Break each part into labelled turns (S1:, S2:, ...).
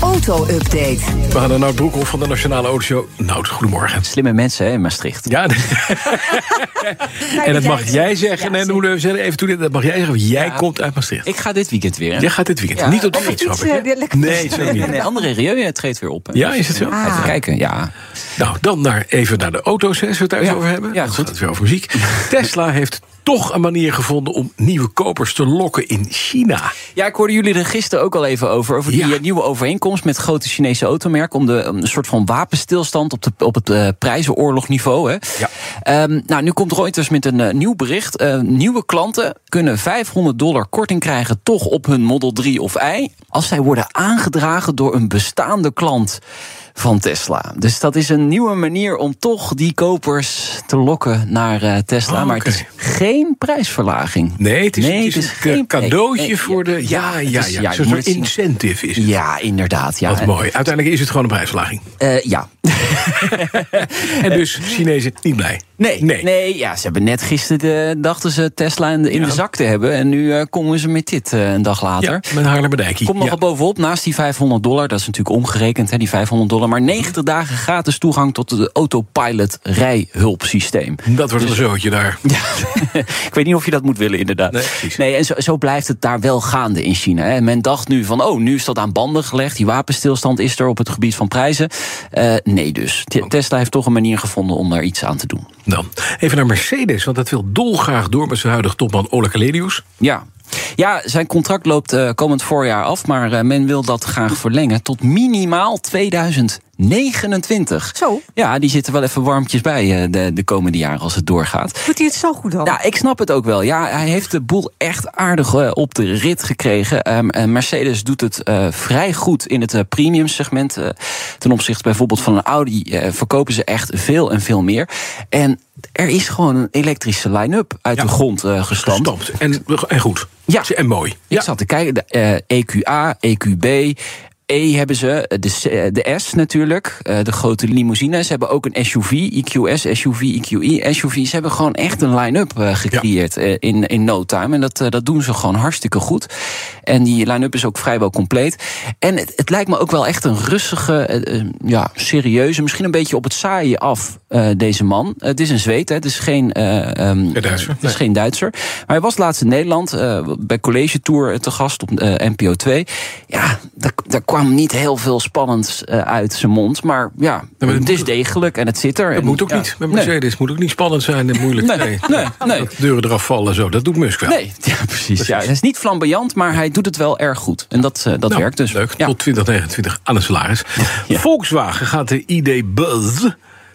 S1: Auto-update.
S2: We gaan naar Nout Broekhoff van de Nationale Autoshow. Nout, goedemorgen.
S3: Slimme mensen hè, in Maastricht.
S2: Ja, en dat mag jij zeggen. En hoe we zeggen, even toe, dat mag jij zeggen. want Jij
S3: Ja.
S2: komt uit Maastricht.
S3: Ik ga dit weekend weer. hè.
S2: Jij gaat dit weekend.
S3: Ja.
S2: Niet op de fiets,
S1: iets,
S2: snap ik, hè?
S1: eh, lekker
S2: Nee, zeker
S3: Nee,
S2: niet.
S3: nee, André Rieu eh, treedt weer op. Hè.
S2: Ja, is het zo?
S3: Even kijken, ja.
S2: Nou, dan naar, even naar de auto's, hè, als we het daar eens
S3: Ja.
S2: over hebben.
S3: Ja,
S2: Dan
S3: goed.
S2: gaat het weer over muziek. Tesla heeft toch een manier gevonden om nieuwe kopers te lokken in China.
S3: Ja, ik hoorde jullie er gisteren ook al even over. Over die
S2: Ja.
S3: eh, nieuwe overeenkomst met grote Chinese automerken. Om de, om een soort van wapenstilstand op, de, op het eh, prijzenoorlogniveau. Hè.
S2: Ja.
S3: Ehm, nou, nu komt Reuters met een eh, nieuw bericht. Eh, nieuwe klanten kunnen 500 dollar korting krijgen. toch op hun Model 3 of I. als zij worden aangedragen door een bestaande klant van Tesla. Dus dat is een nieuwe manier om toch die kopers te lokken naar eh, Tesla.
S2: Oh,
S3: Maar het
S2: oké.
S3: is geen prijsverlaging.
S2: Nee, het is, het is een
S3: geen-
S2: cadeautje
S3: nee, nee,
S2: voor de... Ja,
S3: het
S2: ja,
S3: is-
S2: ja.
S3: je
S2: Zo'n
S3: moet
S2: soort
S3: het zien.
S2: incentive is het.
S3: Ja, inderdaad. Ja.
S2: Wat mooi. Uiteindelijk is het gewoon een prijsverlaging.
S3: Eh, ja.
S2: En dus Chinezen niet blij.
S3: Eh, Nee, nee. ja, ze hebben net gisteren de, dachten ze Tesla in de, in
S2: Ja.
S3: de zak te hebben. En nu eh, komen ze met dit eh, een dag later.
S2: Ja, met Haarlemmerdijkie.
S3: Komt
S2: Ja.
S3: nogal bovenop, naast die 500 dollar, dat is natuurlijk omgerekend, hè, die 500 dollar,
S2: Mhm.
S3: maar 90 dagen gratis toegang tot het autopilot rijhulpsysteem.
S2: Dat wordt een zootje daar.
S3: Ik weet niet of je dat moet willen, inderdaad.
S2: Nee,
S3: Nee,
S2: precies.
S3: en zo, zo blijft het daar wel gaande in China. Hè. Men dacht nu van, oh, nu is dat aan banden gelegd. Die wapenstilstand is er op het gebied van prijzen. Eh, nee dus. Te- Tesla heeft toch een manier gevonden om daar iets aan te doen.
S2: Dan even naar Mercedes, want dat wil dolgraag door met zijn huidige topman Ole Kaledius.
S3: Ja. Ja, zijn contract loopt eh, komend voorjaar af, maar eh, men wil dat graag verlengen tot minimaal 2029.
S1: Zo.
S3: Ja, die zitten wel even warmtjes bij eh, de, de komende jaren als het doorgaat.
S1: Doet hij het zo goed al?
S2: Nou,
S3: Ja, Nou, ik snap het ook wel. Ja, hij heeft de boel echt aardig eh, op de rit gekregen. Ehm, en Mercedes doet het eh, vrij goed in het eh, premium segment. Eh, ten opzichte bijvoorbeeld van een Audi eh, verkopen ze echt veel en veel meer. En er is gewoon een elektrische line-up uit
S2: Ja.
S3: de grond eh gestampt.
S2: Stamt. En, en goed.
S3: Ja.
S2: En mooi.
S3: Ik zat te kijken, de, eh, EQA, EQB, E hebben ze, eh, de, C- eh, de S natuurlijk, eh, de grote limousines. Ze hebben ook een SUV, EQS, SUV, EQE, SUV. Ze hebben gewoon echt een line-up eh, gecreëerd eh, in, in no time. En dat, eh, dat doen ze gewoon hartstikke goed. En die line-up is ook vrijwel compleet. En het, het lijkt me ook wel echt een rustige, eh, eh, ja, serieuze, misschien een beetje op het saaie af, eh, deze man. Het is een Zweed, hè, het is geen... eh, ehm,
S2: Geen Duitser,
S3: Het
S2: nee.
S3: is geen Duitser. Maar hij was laatst in Nederland eh, bij College Tour te gast op eh, NPO 2. Ja, daar, daar kwam niet heel veel spannends eh, uit zijn mond. Maar ja,
S2: maar dat
S3: het is
S2: moet-
S3: degelijk en het zit er.
S2: Dat
S3: En,
S2: moet ook
S3: ja,
S2: niet. Met
S3: nee.
S2: Mercedes moet ook niet spannend zijn en moeilijk.
S3: Nee, nee, nee.
S2: Dat deuren eraf vallen en zo. Dat doet Musk wel.
S3: Nee, ja, precies. Ja, hij is niet flamboyant, maar hij doet het wel erg goed. En dat, eh, dat
S2: Nou,
S3: werkt dus.
S2: Leuk.
S3: Ja.
S2: Tot 2029 aan het salaris.
S3: Ja.
S2: Volkswagen gaat de ID Buzz.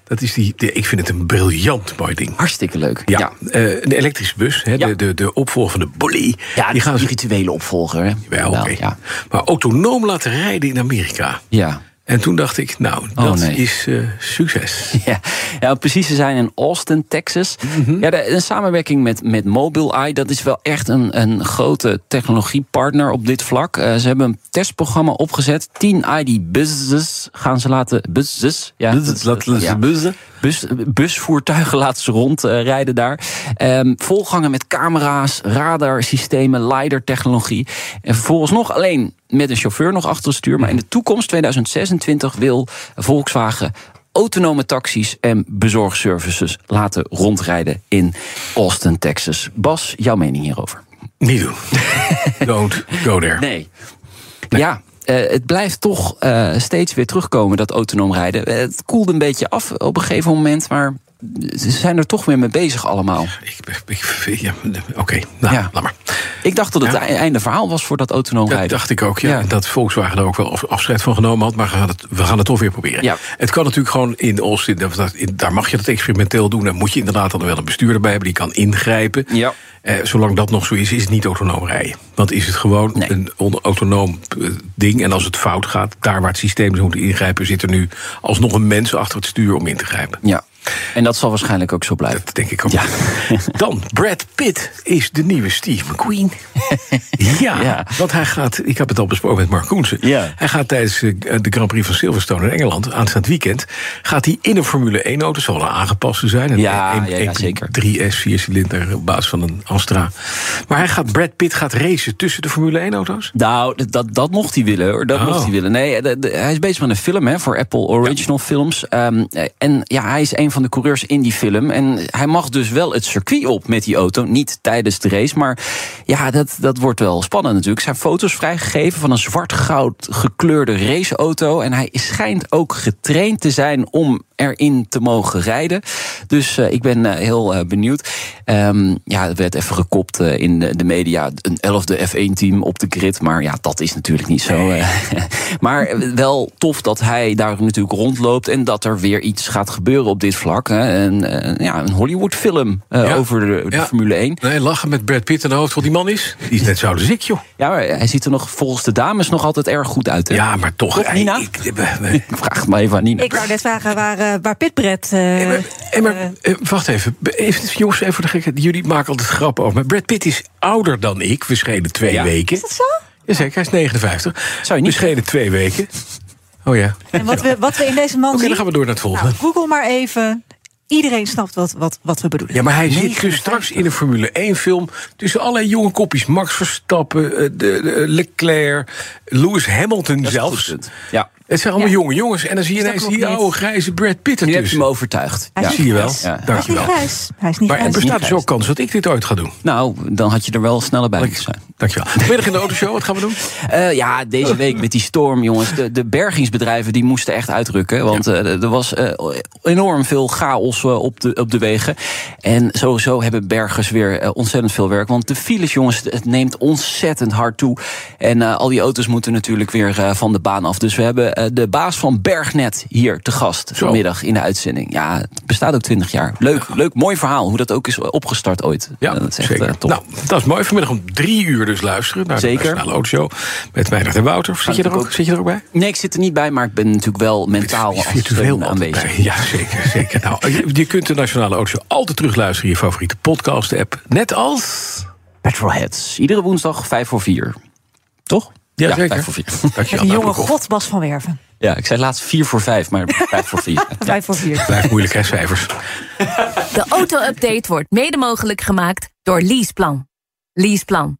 S2: Dat is die, de- ik vind het een briljant mooi ding.
S3: Hartstikke leuk.
S2: Ja,
S3: ja.
S2: eh, een elektrische bus. Hè,
S3: Ja.
S2: de, de, de opvolger van de Bully.
S3: Ja,
S2: die gaan ze
S3: rituele opvolger. Hè?
S2: wel.
S3: Wel,
S2: oké.
S3: ja.
S2: Maar autonoom laten rijden in Amerika.
S3: ja.
S2: En toen dacht ik, nou,
S3: Oh,
S2: dat
S3: nee.
S2: is eh, succes.
S3: Ja, ja, om precies te zijn in Austin, Texas.
S2: Mhm.
S3: Ja, de, een samenwerking met, met Mobileye, dat is wel echt een, een grote technologiepartner op dit vlak. Eh, ze hebben een testprogramma opgezet. 10 ID buses gaan ze laten. Buses, ja,
S2: Dat laten ze
S3: ja.
S2: buzzen.
S3: Bus, busvoertuigen laten ze rondrijden daar. Ehm, volgangen met camera's, radarsystemen, LiDAR-technologie. En vervolgens nog alleen met een chauffeur nog achter het stuur. Maar in de toekomst, 2026, wil Volkswagen autonome taxis en bezorgservices laten rondrijden in Austin, Texas. Bas, jouw mening hierover?
S2: Niet doen. Don't go there.
S3: Nee. Ja, eh, het blijft toch eh, steeds weer terugkomen, dat autonoom rijden. Eh, het koelde een beetje af op een gegeven moment, maar ze zijn er toch weer mee bezig allemaal.
S2: Ik, ik, ja, Oké, nou,
S3: Ja.
S2: laat maar.
S3: Ik dacht dat het
S2: Ja.
S3: ei- einde verhaal was voor dat autonoom
S2: Dat
S3: rijden.
S2: dacht ik ook, ja.
S3: Ja.
S2: Dat Volkswagen er ook wel af- afscheid van genomen had. Maar we gaan het, we gaan het toch weer proberen.
S3: Ja.
S2: Het kan natuurlijk gewoon in Austin. dat- dat- in- Daar mag je dat experimenteel doen. Dan moet je inderdaad dan wel een bestuurder bij hebben die kan ingrijpen.
S3: Ja.
S2: Eh, zolang dat nog zo is, is het niet autonoom rijden. Want is het gewoon
S3: Nee.
S2: een on- autonoom eh, ding. En als het fout gaat, daar waar het systeem zou moeten ingrijpen, zit er nu alsnog een mens achter het stuur om in te grijpen.
S3: Ja. En dat zal waarschijnlijk ook zo blijven.
S2: Dat denk ik ook. Dan, Brad Pitt is de nieuwe Steve McQueen. ja,
S3: Ja.
S2: want hij gaat... Ik heb het al besproken met Mark Koensen.
S3: Ja.
S2: Hij gaat tijdens eh, de Grand Prix van Silverstone in Engeland... aanstaand weekend, gaat hij in een Formule 1-auto... zal er aangepast te zijn. Een
S3: Ja,
S2: een-
S3: ja,
S2: een-
S3: ja, zeker.
S2: 3S, 4-cilinder, op basis van een Astra. Maar hij gaat, Brad Pitt gaat racen tussen de Formule 1-auto's?
S3: Nou, dat, dat, dat mocht hij willen hoor. Dat
S2: Oh.
S3: mocht hij willen. Nee, de- de- hij is bezig met een film hè, voor Apple Original Films. Ehm, eh, en ja, hij is een van de coureurs in die film. En hij mag dus wel het circuit op met die auto. Niet tijdens de race. Maar ja, dat, dat wordt wel spannend natuurlijk. Er zijn foto's vrijgegeven van een zwart-goud gekleurde raceauto. En hij schijnt ook getraind te zijn om erin te mogen rijden. Dus eh, ik ben eh, heel eh, benieuwd. Ehm, ja, er werd even gekopt eh, in de, de media. Een elfde F1-team op de grid. Maar ja, dat is natuurlijk niet zo. eh. maar eh, wel tof dat hij daar natuurlijk rondloopt. En dat er weer iets gaat gebeuren op dit vlak. Hè. Een, eh, ja, een Hollywood-film eh,
S2: Ja.
S3: over de, de
S2: Ja.
S3: Formule 1.
S2: Nee, lachen met Brad Pitt in de hoofd wat die man is. Die is net zo oud als ik, joh.
S3: Ja, maar eh, hij ziet er nog volgens de dames nog altijd erg goed uit. Hè?
S2: Ja, maar toch.
S3: Toch, Nina?
S2: eh, Ik, eh, eh,
S3: Ik vraag het maar even aan Nina.
S1: Ik wou net vragen waar, eh, waar Pitbret.
S2: eh, maar- eh, maar, eh, wacht even. even. Jongens, even voor de gekke. Jullie maken altijd grappen over. Maar Brad Pitt is ouder dan ik. We schelen twee
S3: Ja.
S2: weken.
S1: is dat zo?
S2: Jazeker, hij is 59.
S3: Zou je niet-
S2: We schelen twee weken. Oh ja. Oké,
S1: En wat we, wat we in deze man
S2: dan
S1: zien.
S2: gaan we door naar het volgende.
S1: Nou, Google maar even. Iedereen snapt wat, wat, wat we bedoelen.
S2: Ja, maar hij zit dus straks in een Formule 1-film... tussen allerlei jonge kopjes. Max Verstappen, eh, de, de- Leclerc, Lewis Hamilton
S3: Dat is een goed
S2: zelfs.
S3: punt. Ja.
S2: Het zijn allemaal
S1: Ja.
S2: jonge jongens. En dan zie je
S1: Dus dat
S2: ineens
S1: klopt
S2: die
S1: niet.
S2: oude grijze Brad Pitt
S3: Nu heb je
S2: ertussen.
S3: me overtuigd.
S1: Hij
S3: Ja.
S1: is
S2: Zie je wel?
S3: Ja.
S1: Hij is niet
S2: Dankjewel.
S1: grijs. Hij is niet
S2: Maar er
S1: grijs.
S2: bestaat dus
S3: grijs.
S2: ook kans dat ik dit ooit ga doen.
S3: Nou, dan had je er wel sneller bij moeten zijn.
S2: Dankjewel. Vanmiddag in de autoshow, wat gaan we doen?
S3: Eh, ja, deze week met die storm, jongens. De, de bergingsbedrijven die moesten echt uitrukken. Want eh, er was eh, enorm veel chaos eh, op, de, op de wegen. En sowieso hebben bergers weer eh, ontzettend veel werk. Want de files, jongens, het neemt ontzettend hard toe. En eh, al die auto's moeten natuurlijk weer eh, van de baan af. Dus we hebben eh, de baas van Bergnet hier te gast
S2: Zo.
S3: vanmiddag in de uitzending. Ja, het bestaat ook 20 jaar. Leuk, leuk, mooi verhaal. Hoe dat ook is opgestart ooit.
S2: Ja,
S3: Eh, dat is echt
S2: zeker.
S3: eh, top.
S2: Nou, dat is mooi. Vanmiddag om drie uur dus luisteren naar
S3: Zeker.
S2: de Nationale Autoshow. Met Weinig en Wouter. Zit je, er ook,
S3: ook-
S2: zit je er ook bij? dus
S3: Nee, ik zit er niet bij, maar ik ben natuurlijk wel mentaal als steun
S2: Virtueel
S3: aanwezig.
S2: aanwezig. Ja, zeker. zeker. Nou, je, je kunt de Nationale Autoshow altijd terugluisteren in je favoriete podcast-app. Net als...
S3: Petrolheads. Iedere woensdag vijf voor vier. Toch?
S2: Ja, zeker.
S3: vijf voor vier.
S2: Dankjewel.
S1: Een jonge
S2: Nabokov.
S1: god Bas van Werven.
S3: Ja, ik zei laatst vier voor vijf, maar vijf voor vier. Ja.
S1: Vijf voor vier.
S2: Blijf moeilijk, hè, cijfers.
S4: De auto-update wordt mede mogelijk gemaakt door Leaseplan. Leaseplan.